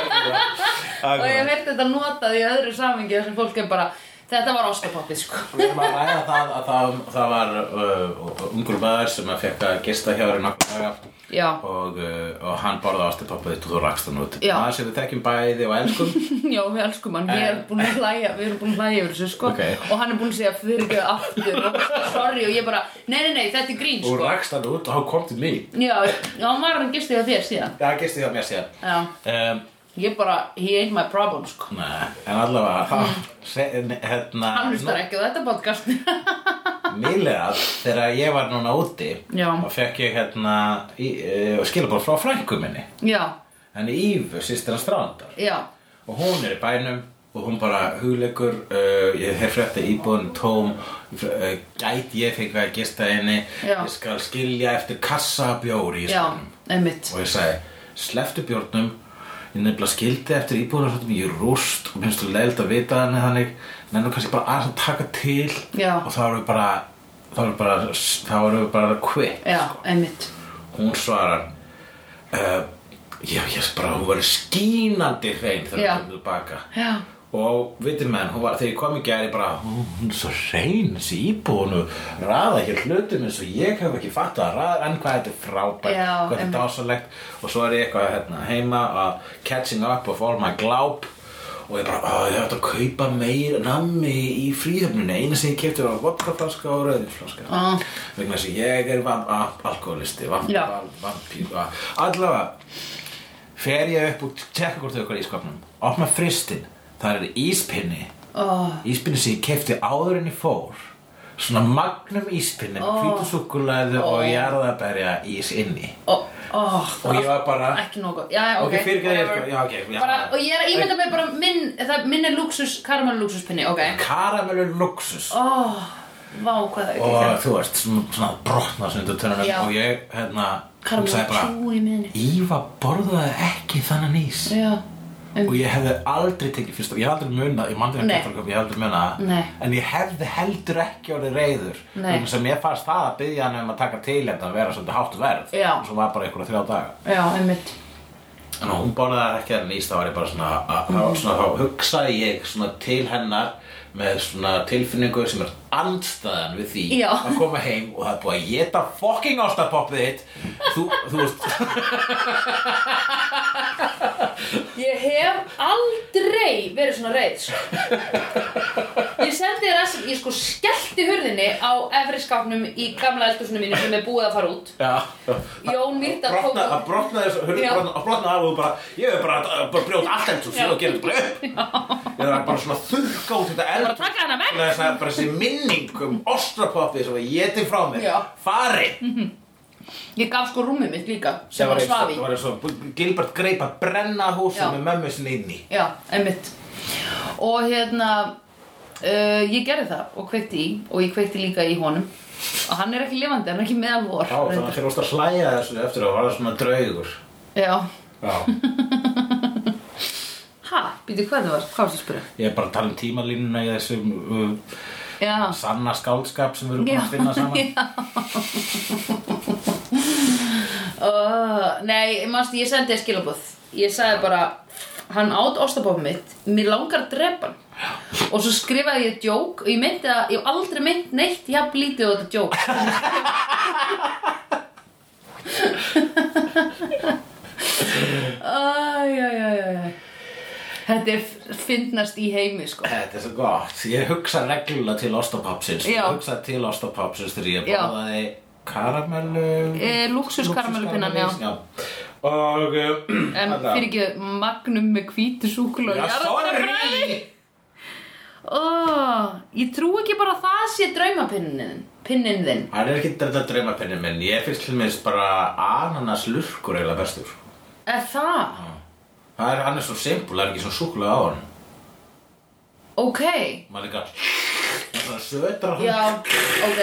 A: og ég hef heyrt þetta notað í öðru samingi þar sem fólk er bara, þetta var ostapoppi sko.
B: Við erum að ræða það að það, það var uh, ungur maður sem að fekk að gista hjá þér í nokkuð daga
A: já,
B: og, uh, og hann borða ástapappi þitt og þú rakst hann út
A: Já.
B: Það sem við þekkjum bæði og elskum
A: Já, við elskum hann, ég er búin að hlæja, við erum búin að hlæja yfir þessu, sko
B: Eh. Ok.
A: Og hann er búin að segja fyrirgjöðu aftur og sorry og ég bara, nei, nei, nei, þetta er grín,
B: Þú
A: sko
B: rakst hann út og hann kom til mig
A: Já, já, hann var hann gistu hjá þér síðan
B: Já, gisti hjá mér síðan
A: Já,
B: um,
A: ég bara, he ain't my problem, sko
B: Nei, en allavega þá, se, hérna,
A: Hann hlustar ekki á þetta podcast
B: Nýlega, þegar ég var núna úti
A: Já.
B: þá fekk ég hérna uh, skilabóð frá frænku minni
A: Já,
B: henni Ífu, sýstir hans Strandar
A: já,
B: og hún er í bænum og hún bara hugleikur uh, ég hef frétta íbúðin tóm uh, gæt ég fengi að gista henni
A: Já.
B: ég skal skilja eftir kassa af bjóri í
A: já,
B: skónum
A: einmitt
B: og ég sagði, sleftu bjórnum ég nefnilega skildi eftir íbúðunarhaldum ég er rúst og minnst þú leild að vita hann þannig, nennum kannski bara aðeins að taka til
A: Já.
B: og þá erum við bara þá erum við bara, þá erum við bara quitt
A: Já, einmitt
B: hún svarar uh, Já, ég bara, hún var skínandi hrein þegar
A: Já.
B: hún kom tilbaka.
A: Já.
B: Og vitið menn, hún var, þegar ég kom í gæri bara, "Ó, hún er svo hrein þessi íbúinu, raða hér hlutum eins og ég hef ekki fattað að raða, en hvað þetta er frábært,
A: Já,
B: hvað þetta er
A: einmitt.
B: dásalegt. Og svo er ég eitthvað hérna, heima að catching up og fór maður gláp og ég bara, "Ó, ég ætti að kaupa meir nammi í fríhöfninu, eina sem ég kefti var vodkaflaska og rauðinflaska.
A: Ah.
B: Vegna þess að ég er vamp, alkoholisti, vamp,
A: Já.
B: vamp, vampíru, allavega fer ég upp og tekka hvort þau okkar í skapnum opna fristinn, það er íspinni
A: Oh.
B: íspinni sem ég kefti áður en ég fór svona magnum íspinni oh. hvítusúkulæðu
A: Ó.
B: og jarðaberja ís inni
A: Oh. Oh.
B: og ég var bara
A: Ekki nógu, já, já, ok,
B: Ok, fyrirgefðu, ég-
A: whatever.
B: já, ok, já.
A: bara, Og ég er að ímynda mér bara minn, það, minn er luxus, karamellu luxuspinni, ok
B: karamellur luxus
A: Ó, vá, hvað það er
B: og
A: ekki
B: þú veist, svona, svona brotna sundur tönnum
A: Já.
B: og ég, hérna, hún sagði
A: Karamellu
B: bara
A: tjú í minni
B: Íva borðaði ekki þannan ís
A: Já, um,
B: og ég hefði aldrei tekið fyrst ég hef aldrei munað, ég mandi
A: Nei.
B: ekki að ég hef aldrei munað það.
A: Nei.
B: en ég hefði heldur ekki orðið reyður
A: Nei.
B: vegna sem ég fannst það að byggja hann um að taka til þetta að vera svolítið hátt verð
A: Já.
B: og svo var bara einhverja þrjá daga
A: já, einmitt
B: en hún borðaði ekki þannig ís þá var ég bara svona, að, mm. svona þá hugsaði ég svona til hennar með svona tilfinningu sem er andstæðan við því
A: Já.
B: að koma heim og það er búið að geta fucking ástapoppið þitt þú, þú veist,
A: Ég hef aldrei verið svona reið sko. Ég sendi þér að ég sko skellti hurðinni á efri skápnum í gamla eldhúsinu mínu sem er búið að fara út
B: já
A: Jón Myrdal tók
B: brotna, að brotna þess að
A: Já.
B: brotna, að brotna af og þú bara ég er bara að bara brjóta allt eins og
A: Já.
B: svo gerum þetta bara upp ég er bara svona að þurrka út þetta eld
A: Bara taka hana vekk.
B: Svona þess að bara þessi minning um ostrapoppið sem var getið frá mér
A: Já.
B: farin
A: Ég gaf sko rúmið mitt líka sem
B: það var
A: var
B: eins-
A: svafi
B: það var eins og Gilbert greip að brenna
A: Já.
B: húsum með mömmu sinni inn í
A: Já, einmitt Og hérna uh, Ég gerði það og kveikti í Og ég kveikti líka í honum Og hann er ekki lifandi, hann er ekki meðal vor
B: Já, þannig að
A: reyndar.
B: þeir óst að hlæja þessu eftir að var það svona draugur
A: Já
B: Já.
A: Ha, býtu hvað það var, hvað varstu að spyrja?
B: Ég er bara að tala um tímalínuna í þessum uh,
A: Já,
B: sanna skáldskap sem við erum búin að finna saman
A: uh, nei, manstu, ég sendi þér skilabóð Ég sagði bara Hann át ostabófum mitt, mér langar að drepa hann Og svo skrifaði ég djók Og ég myndi að, ég hef aldrei mynd neitt Ég haf lítið á þetta djók Æj, æj, æj, æj Þetta er fyndnast í heimi, sko
B: Þetta er svo gott. Ég hugsa reglulega til ostapapsins. Ég
A: Já.
B: hugsa til ostapapsins þegar ég
A: Já.
B: borðaði karamellu...
A: Eh, Luxuskaramellupinnan, já
B: já. Og... Um,
A: En fyrir ekki magnum með hvítu súkula
B: Já, sorry!
A: oh, Ég trú ekki bara að það sé draumapinnin Pinnin þinn
B: Hann er ekki þetta draumapinni minn. Ég finnst til mér bara ananas lurkur eiginlega bestur.
A: Er það?
B: Það er, hann er svo simpul, það er ekki svo súkulega á hann.
A: Ok
B: Maður líka... Það sötra hann.
A: Já, ok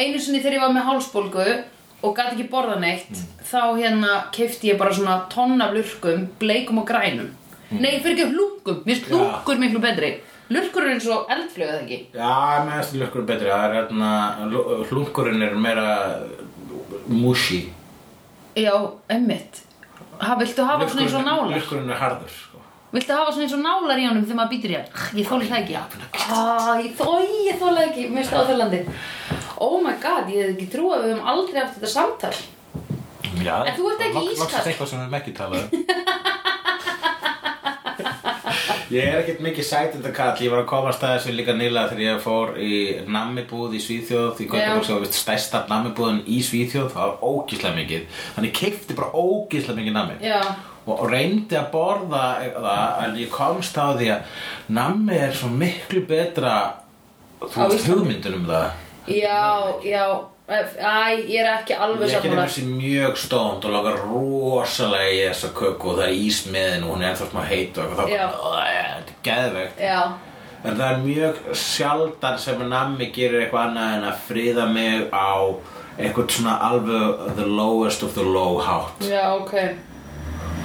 A: Einu sinni þegar ég var með hálsbólgu og gat ekki borða neitt
B: Mm.
A: þá hérna keifti ég bara svona tonn af lurkum bleikum og grænum Nei, fyrir ekki lúkum, mér finnst
B: Mm. Já.
A: lúkur miklu betri Lurkur er eins og eldflög eða ekki
B: Já, mér finnst lurkur betri. Það er hérna... lú- Hlunkurinn er meira... Mushi.
A: Já, emmitt Ha, viltu hafa svona eins og nálar?
B: Lurkurinn er harður, sko.
A: Viltu hafa svona eins og nálar í honum þegar maður býtur í hann? Ég þóli það ekki. Ah, ég þóli, ég þóli ekki. Mér stáð þölandi. Oh my god, ég hef ekki trú að við höfum aldrei haft þetta samtal.
B: Já,
A: En þú ert ekki
B: loks-
A: ískalt.
B: Loksast eitthvað sem við erum ekki talað um Ég er ekkert mikið sætindakall, ég var að komast að þessu líka nýlega þegar ég fór í nammibúð í Svíþjóð í Göteborg sem var vist stærsta nammibúðin í Svíþjóð, það var ógíslega mikið þannig ég keipti bara ógíslega mikið nammi
A: Já.
B: og og reyndi að borða það en ég komst á því að nammi er svo miklu betra
A: Á
B: þú veist
A: Íslandi.
B: hugmyndunum það
A: Já, já. Æ, ég er ekki
B: Ég
A: alveg
B: er ekki
A: sammála.
B: nefnir þessi mjög stónd og langar rosalega í þessa köku og það er ís með henni og hún er ennþá smá heit og eitthvað þá
A: Já.
B: bara, "Ugh, þetta er geðvegt.
A: Já,
B: En það er mjög sjaldan sem nammi gerir eitthvað annað en að friða mig á eitthvað svona alveg the lowest of the low hátt.
A: já, ok.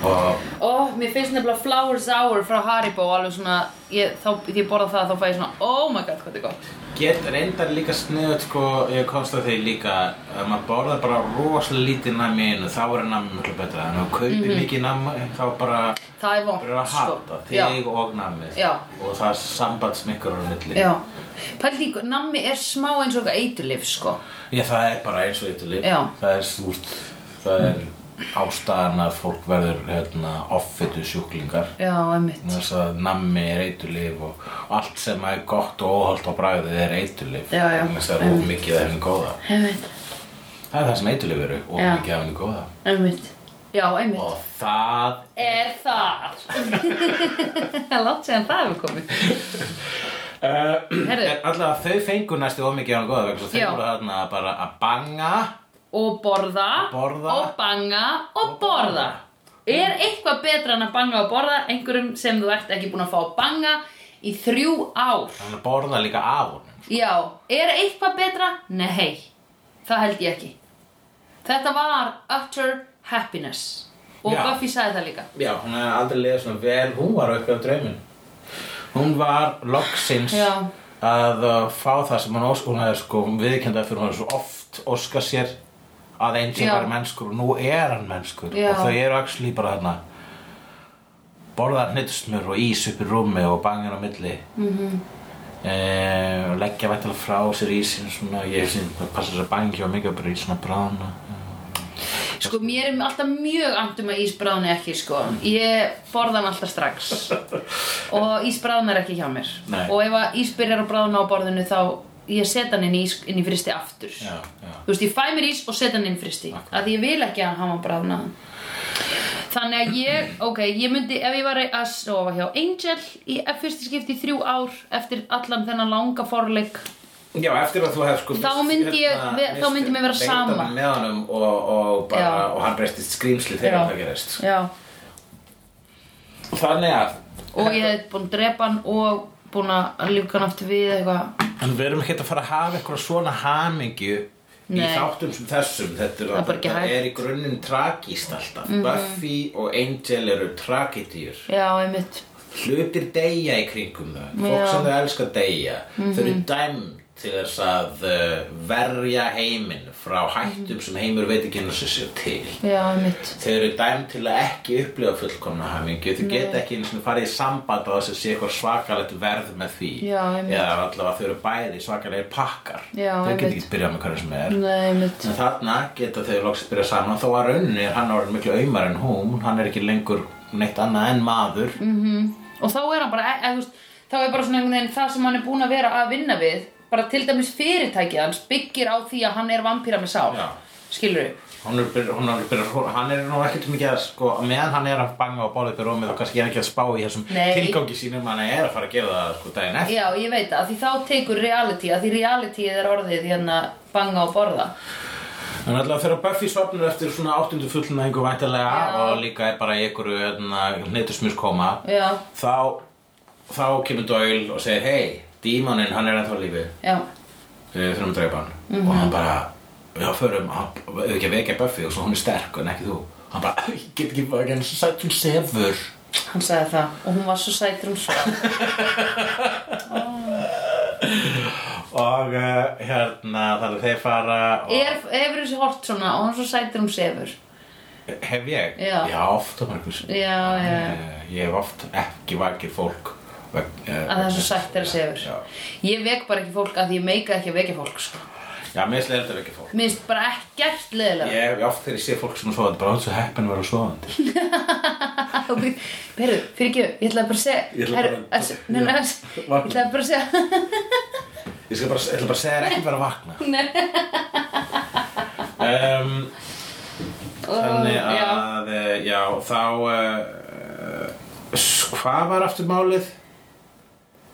B: og
A: Ó, mér finnst nefnilega Flowers Hour frá Haribo alveg svona, ég, þá, því ég borða það þá fæ ég svona, oh my god, hvað þetta er gott.
B: Get reyndar líka sniðut sko, ég komst að því líka að maður borðar bara rosalega lítið nammi í einu, þá er nammi miklu betra en ef þú kaupir
A: Mhm.
B: mikið nammi, þá bara
A: Það er vont,
B: byrjar að hata
A: Sko, Já.
B: þig og nammið
A: Já.
B: og það er sambandsmikkur á milli
A: Já, pældi því, nammi er smá eins og eitthvað eiturlif, sko.
B: Já, það er bara eins og eitt líf
A: Já.
B: það er súrt, það er ástæðan að fólk verður hérna, offitu sjúklingar
A: Já, einmitt.
B: þess að nammi er eitulif og allt sem er gott og óholt á bragðið er eitulif
A: Já, já.
B: þess að það er of mikið af henni góða
A: Einmitt,
B: það er það sem eitulif eru, of
A: Já.
B: mikið af henni góða
A: einmitt. Já, einmitt.
B: og það
A: Er það? Það er Látt séðan það hefur komið.
B: uh,
A: Herðu.
B: allavega þau fengur næstu of mikið af henni góða vegna þess að
A: Já.
B: þau voru þarna bara að banga
A: Og borða.
B: Borða.
A: Og banga. Og borða. Er eitthvað betra en að banga og borða einhverjum sem þú ert ekki búin að fá að banga í þrjú ár?
B: hann borða líka af honum
A: Já, er eitthvað betra? Nei, það held ég ekki. Þetta var utter happiness. Og
B: Já.
A: Buffy sagði það líka.
B: já, hún hefði aldrei liðið svona vel hún var upp af draumin hún var loksins
A: Já.
B: að uh, fá það sem hún ósk hún hefði sko viðkendað fyrir hún hefði svo oft óska sér að einn sem
A: Já.
B: var mennskur og nú er hann mennskur
A: Já.
B: og þau eru axli bara þarna borða hnittsmur og ís upp í rúmi og bangin á milli mm
A: Mhm.
B: -hmm. og leggja vettilega frá sér ísinn svona ég hef sín passa sér að bangi og mikið bara í svona brána
A: Sko, mér er alltaf mjög angt um að ís bráðni ekki, sko. Ég borða hann alltaf strax. Og ís bráðnar ekki hjá mér.
B: Nei.
A: Og ef að ís byrjar að bráðna á borðinu þá ég set hann inn í, ís, inn í fristi aftur.
B: já, já
A: Þú veist, ég fæ mér ís og set hann inn í fristi.
B: Akkurat.
A: Af því ég vil ekki að hann var bráðnaðan. Þannig að ég, ok, ég myndi, ef ég var að sofa hjá Angel í fyrsta skipti í þrjú ár eftir allan þennan langa forleik,
B: Já, eftir að þú hefði sko
A: Þá myndi ég- ve- þá myndi mér vera sama.
B: Beintan með honum og, og, bara,
A: Já.
B: og hann breytist skrýmsli
A: Já.
B: þegar það gerist sko.
A: já,
B: Þannig að
A: og ég hef búin að drepa hann og búin að líka hann aftur við eitthvað
B: En við erum ekkert að fara að hafa eitthvað svona hamingju í
A: Nei.
B: þáttum sem þessum Þetta er,
A: Það er bara ekki
B: þetta
A: hægt. Mhm.
B: er í grunninn tragíst alltaf Buffy og Angel eru tragedýr
A: Já, einmitt.
B: Hlutir deyja í kringum þau Fólk
A: Já. Mhm.
B: sem þau elska deyja Þau eru dæmd til þess að uh, verja heiminn frá hættum sem heimur veit ekki hennar sem sér til
A: Já, einmitt.
B: Þeir eru dæm til að ekki upplifa fullkomna hamingju Þau geta ekki einu sinni farið í samband á þess að sé eitthvað svakalegt verð með því
A: Já, einmitt.
B: Eða allavega þau eru bæði svakalegir pakkar
A: Já,
B: Þau geta
A: einmitt.
B: ekki byrjað með hverju sem er
A: Nei, einmitt.
B: En þarna geta þau loksist byrjað saman Þó að rauninni er hann orðin miklu aumar en hún Hann er ekki lengur neitt annað en maður mm.
A: Og þá er hann bara, eh, eða þú veist, þá er bara svona einhvern veginn það sem hann er búinn að vera að vinna við, bara til dæmis fyrirtækið hans byggir á því að hann er vampíra með sál.
B: Já.
A: Skilur við?
B: Hún er byrjað, hún er byrjað Hann er nú ekkert mikið að sko Meðan hann er að banga á bólið byrjað Þá kannski er ekki að spá í þessum
A: Nei.
B: tilgangi sínum Hann er að fara að gera það sko daginn eftir
A: Já, ég veit það, af því þá tekur reality, af því reality er orðið hérna banga og borða.
B: En alltaf þegar Buffy sopnur eftir svona áttundu fullnæðingu væntalega
A: Já.
B: og líka er bara í einhverju hnetusmjurs koma
A: Já,
B: þá, þá kemur Doyle og segir hei, dímoninn, hann er ennþá á lífi
A: já,
B: við þurfum að dreipa hann og
A: Mhm.
B: hann bara, já, förum hann, við ekki að vekja Buffy og svo hún er sterk en ekki þú hann bara, ég get ekki bara hann sætt hún sefur
A: hann sagði það og hún var svo sætur um svo.
B: og uh, hérna, þannig að þeir fara og
A: er, hefur þessi hort svona og hann svo sætur um sefur.
B: hef ég?
A: Já.
B: já ofta Markus
A: Já, já.
B: Eh, ég hef oft ekki vakið fólk vegna- eh,
A: Að það er svo sætt þegar sefur.
B: Já.
A: Ég vek bara ekki fólk að því ég meika ekki að vekja fólk, sko.
B: Já, mér finnst leiðilegt að vekja fólk.
A: Mér finnst bara ekkert leðilega
B: Ég hef oft þegar ég sé fólk sem er svoðandi, bara hann svo heppin að vera svoðandi.
A: Herru, Ah, fyrir ekki, ég ætlaði bara að
B: Ég
A: segja
B: ætla
A: Herru,
B: bara-
A: að- nei, nei, að- ég
B: Vakna.
A: ætlaði bara að segja
B: Ég skal bara, ég ætla bara að segja þér ekki bara að vakna. um, þannig
A: Ó, já.
B: að, eh, já, þá, uh, hvað var aftur málið?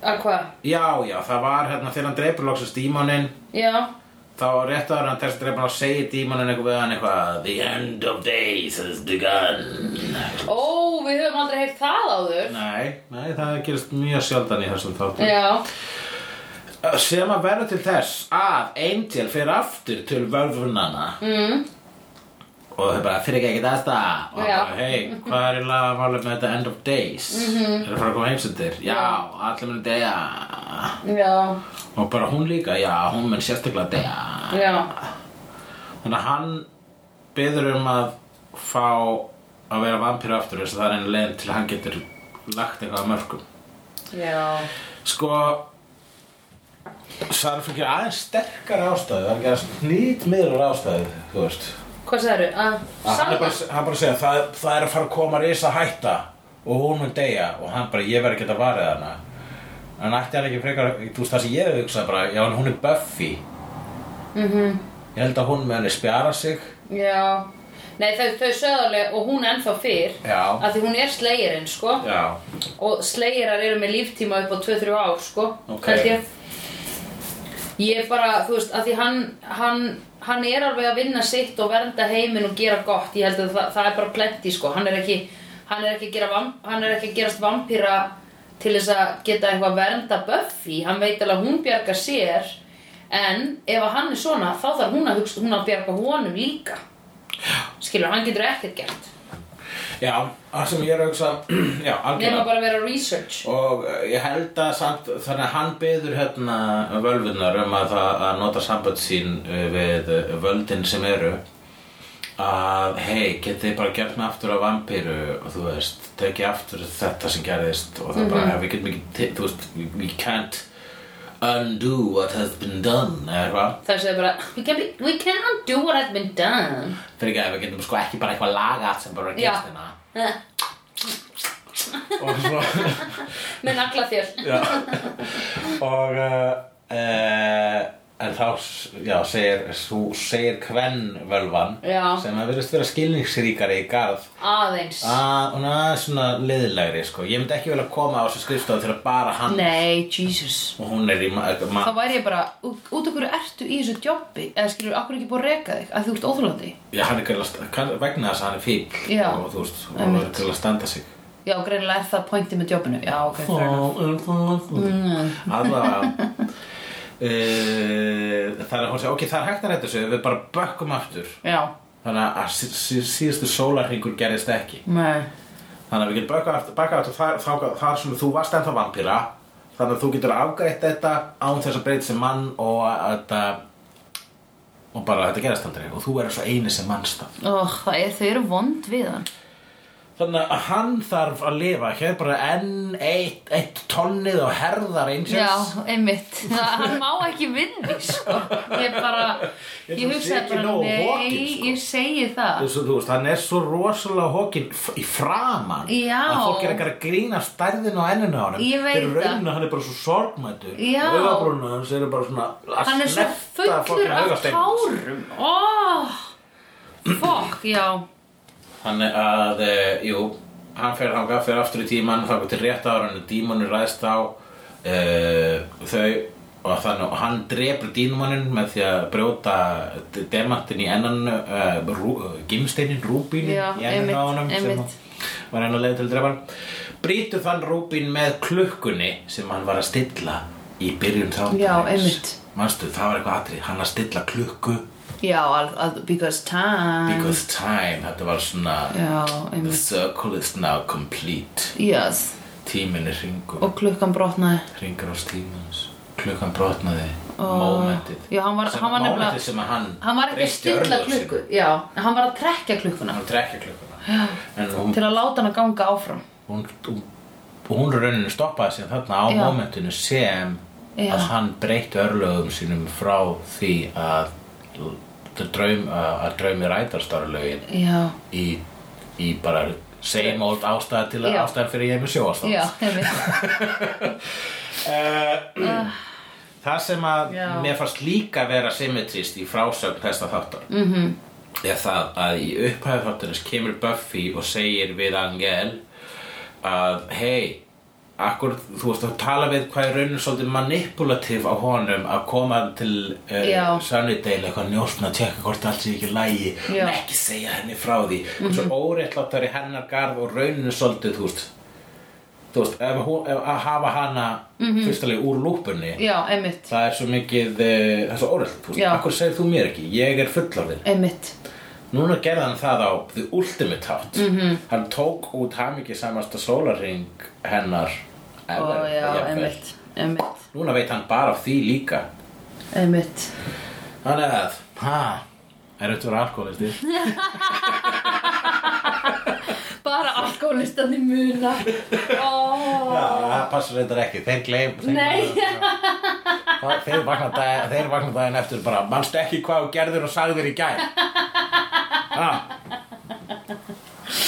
A: Að hvað?
B: Já, já, það var hérna þegar hann dreipur loksast dímoninn,
A: Já, þá
B: þá rétt áður en hann terst dreipur hann segir dímoninn eitthvað við hann eitthvað, The end of days has begun.
A: Ó, við höfum aldrei heyrt það áður
B: Nei, nei, það gerist mjög sjaldan í þessum þáttum. Eh,
A: Já,
B: sem að verða til þess að Angel fer aftur til vörfunana mm. og þau bara fyrir ekki þetta og það
A: Já.
B: bara hei, hvað er eiginlega að mála með þetta end of days mm
A: Mhm.
B: -hmm. er það fara að koma heimsendir já, allir mun deyja
A: Já,
B: og bara hún líka, já, hún mun sérstaklega deyja
A: já,
B: þannig að hann byður um að fá að vera vampíru aftur þess að það er einu leiðin til að hann getur lagt eitthvað að mörgum
A: já,
B: sko það er fyrir aðeins sterkar ástæðu það er ekki aðeins nýtt miður ástæðu þú veist
A: hvað sagðirðu? Ah, Að
B: Að Ah, hann er
A: sanna?
B: bara, hann bara að segja það, það er að fara að koma risa hætta og hún mun deyja og hann bara ég verð ekki að varið hana en ætti hann ekki frekar þú veist það sem ég hef hugsað bara já en hún er Buffy ég held að hún með henni spjara sig
A: Já, nei þau, þau söðarlega og hún ennþá fyrr
B: Já.
A: að því hún er slegirinn sko
B: já
A: og slegjarar eru með líftíma upp á 2-3 ár sko
B: Ok.
A: held ég. ég bara, þú veist, að því hann, hann hann er alveg að vinna sitt og vernda heiminn og gera gott ég held að það, það er bara plenty sko hann er ekki, hann er ekki, að, gera, vam- hann er ekki að gerast vampíra til þess að geta eitthvað vernda Buffy hann veit alveg að hún bjargar sér en ef að hann er svona þá þarf hún að, hugsa, hún að bjarga honum líka skilur, hann getur ekkert gert
B: já það sem ég er að hugsa já
A: nema
B: algjörlega
A: bara að vera research
B: og eh, ég held að samt þannig að hann byður hérna völvunar um að, það- að nota sambönd sín eh, við eh, völdin sem eru að hei, getið þið bara gert mig aftur á vampíru og þú veist, tekið aftur þetta sem gerðist og það
A: Mhm.
B: bara, við getum ekki te- þú veist, we- we can't undo what has been done eða eitthvað,
A: Það segir bara, we, can be, we cannot do what has been done.
B: fyrir ekki að við getum sko ekki bara eitthvað laga allt sem bara
A: Já.
B: gerst hérna
A: Eh,
B: og svo
A: Með nagla þér.
B: Já. og uh, uh, en þá s- já, segir, sú, segir kvennvölvan
A: Já.
B: sem að verðist vera skilningsríkari í garð
A: Aðeins.
B: að hún er aðeins svona liðlegri sko. ég myndi ekki vel að koma á þessu skrifstofu til að bara hann
A: Nei, Jesus.
B: og hún er í ma ma
A: Þá væri ég bara, ú- út af hverju ertu í þessu jobbi? Eða skilur, akkur ekki búið að reka þig? Að þú ert óþólandi?
B: já, hann er greinlega st- kann- vegna þess að hann er fíl
A: Já.
B: og þú veist, hún er
A: Einmitt.
B: til að standa sig
A: Já, greinilega er það pointi með jobbinu. Já, ok, fair enough. Mm.
B: allavega Uh, það er að hún segja, ok, það er hægt að rétta sig við bara bökkum aftur
A: Já,
B: Þannig að sí- sí- síðustu sólarhingur gerðist ekki.
A: nei.
B: Þannig að við getum bakað aftur, bakað aftur þar, þar, þar sem þú varst ennþá vampíra. Þannig að þú getur afgreitt þetta án þess að breyta sem mann og að þetta og bara þetta gerðist aldrei og þú er svo eini sem mannstaf.
A: Ó, það er, þau eru vond við hann.
B: Þannig að hann þarf að lifa, hér er bara enn eitt, eitt tonnið og herðar einsins.
A: Já, einmitt. Það, hann má ekki vinni, sko. Ég bara,
B: Ég
A: ég
B: held að sé
A: hugsaði
B: ekki
A: bara,
B: nógu
A: nei,
B: hokin, sko."
A: ég segi það.
B: Þessu, þú veist, hann er svo rosalega hókin í framan
A: Já.
B: að fólk er ekki að grína stærðin á enninu á honum
A: Ég veit
B: Fyrir rauninu hann er bara svo sorgmættur
A: Já.
B: og augabrúnu hans eru bara svona að
A: hann er svo
B: snerta
A: fullur
B: fucking
A: af
B: augasteininn.
A: tárum oh, fuck, já
B: Þannig að, e, jú, hann fer hann fyrir aftur í tíman þá til rétt ára hann er dímonur ræðst á e, þau og þannig og hann drepur dímoninn með því að brjóta d- demantin í ennan uh, rú, gimsteinin, rúbínin
A: Já,
B: í enninu
A: einmitt,
B: á honum sem
A: einmitt.
B: hann var enn að leiða til að drepa hann brýtur þann rúbín með klukkunni sem hann var að stilla í byrjun þáttarins
A: Já, einmitt.
B: Manstu, það var eitthvað atrið, hann að stilla klukku
A: já, al- al- because time
B: because time, þetta var svona
A: já,
B: The
A: einmitt
B: circle is now complete.
A: yes.
B: Tíminn er ringur.
A: og klukkan brotnaði
B: Ringur á tímans. Klukkan brotnaði.
A: Ó.
B: Momentið.
A: Já, hann var-
B: Sem-
A: hann var nefnilega-
B: Momentið sem að hann...
A: hann var ekki að
B: breytti
A: stilla
B: örlög sín.
A: klukku já, hann var að trekja klukkuna
B: Hann trekja klukkuna. En hún,
A: til að láta hann að ganga áfram
B: hún, hún, hún rauninu stoppaði sér þarna á
A: Já.
B: momentinu sem
A: Já.
B: að hann breytti örlögum sínum frá því að að draum, að draumi rætast ára lögin
A: já,
B: í, í bara same old ástæða til að
A: Já.
B: ástæða fyrir ég er með sjóastáð.
A: já, einmitt
B: Það sem að
A: Já.
B: mér fannst líka vera symmetrist í frásögn þesta þáttar mm -hmm.
A: Mhm.
B: er það að í upphæðu þáttarins kemur Buffy og segir við Angel að hei, akkur þú veist að tala við hvað er raunin svolítið manipulativ á honum að koma til uh,
A: Já.
B: Sunnydale eitthvað njósna að tjekka hvort allt sé ekki í lagi
A: Já. Mhm.
B: en ekki segja henni frá því mm -hmm. svo óréttláttar í hennar garð og raunin svolítið þú veist þú veist, ef, hún, ef að hafa hana
A: Mhm.
B: fyrstulega úr lúpunni
A: já, einmitt
B: Það er svo mikið, eh, það er svo órætt, þú veist,
A: Já.
B: akkur segir þú mér ekki, ég er fullorðin
A: einmitt,
B: Núna gerði hann það á The Ultimate Hátt
A: Mhm.
B: -hmm. Hann tók út hamingi samasta sólarring hennar ever,
A: Ó, já,
B: jafnvel.
A: einmitt, einmitt,
B: Núna veit hann bara af því líka
A: einmitt
B: Þannig að, ha, er auðvitað alkoholisti
A: Bara alkoholistandi muna Ó,
B: Já, það passar reyndar ekki, þeir gleym þeir
A: Nei.
B: Þa- Þeir vakna dag- þeir vakna daginn eftir bara Manstu ekki hvað þú gerðir og sagðir í gær Ha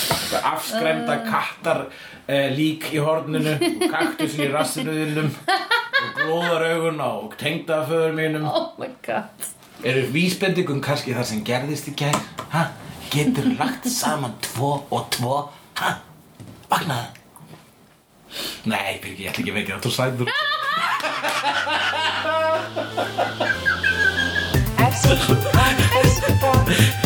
B: Það Afskremda kattar eh, lík í horninu og kaktusin í rassinuðinum og glóðaraugun á tengdaföður mínum
A: oh my god
B: Eru vísbendingum kannski það sem gerðist í gær? Ha? Getur lagt saman tvo og tvo? Ha? Vaknaði? Nei, Birgi, ég ætla ekki að vekja það, þú sæður.
D: X, Y, S, Y.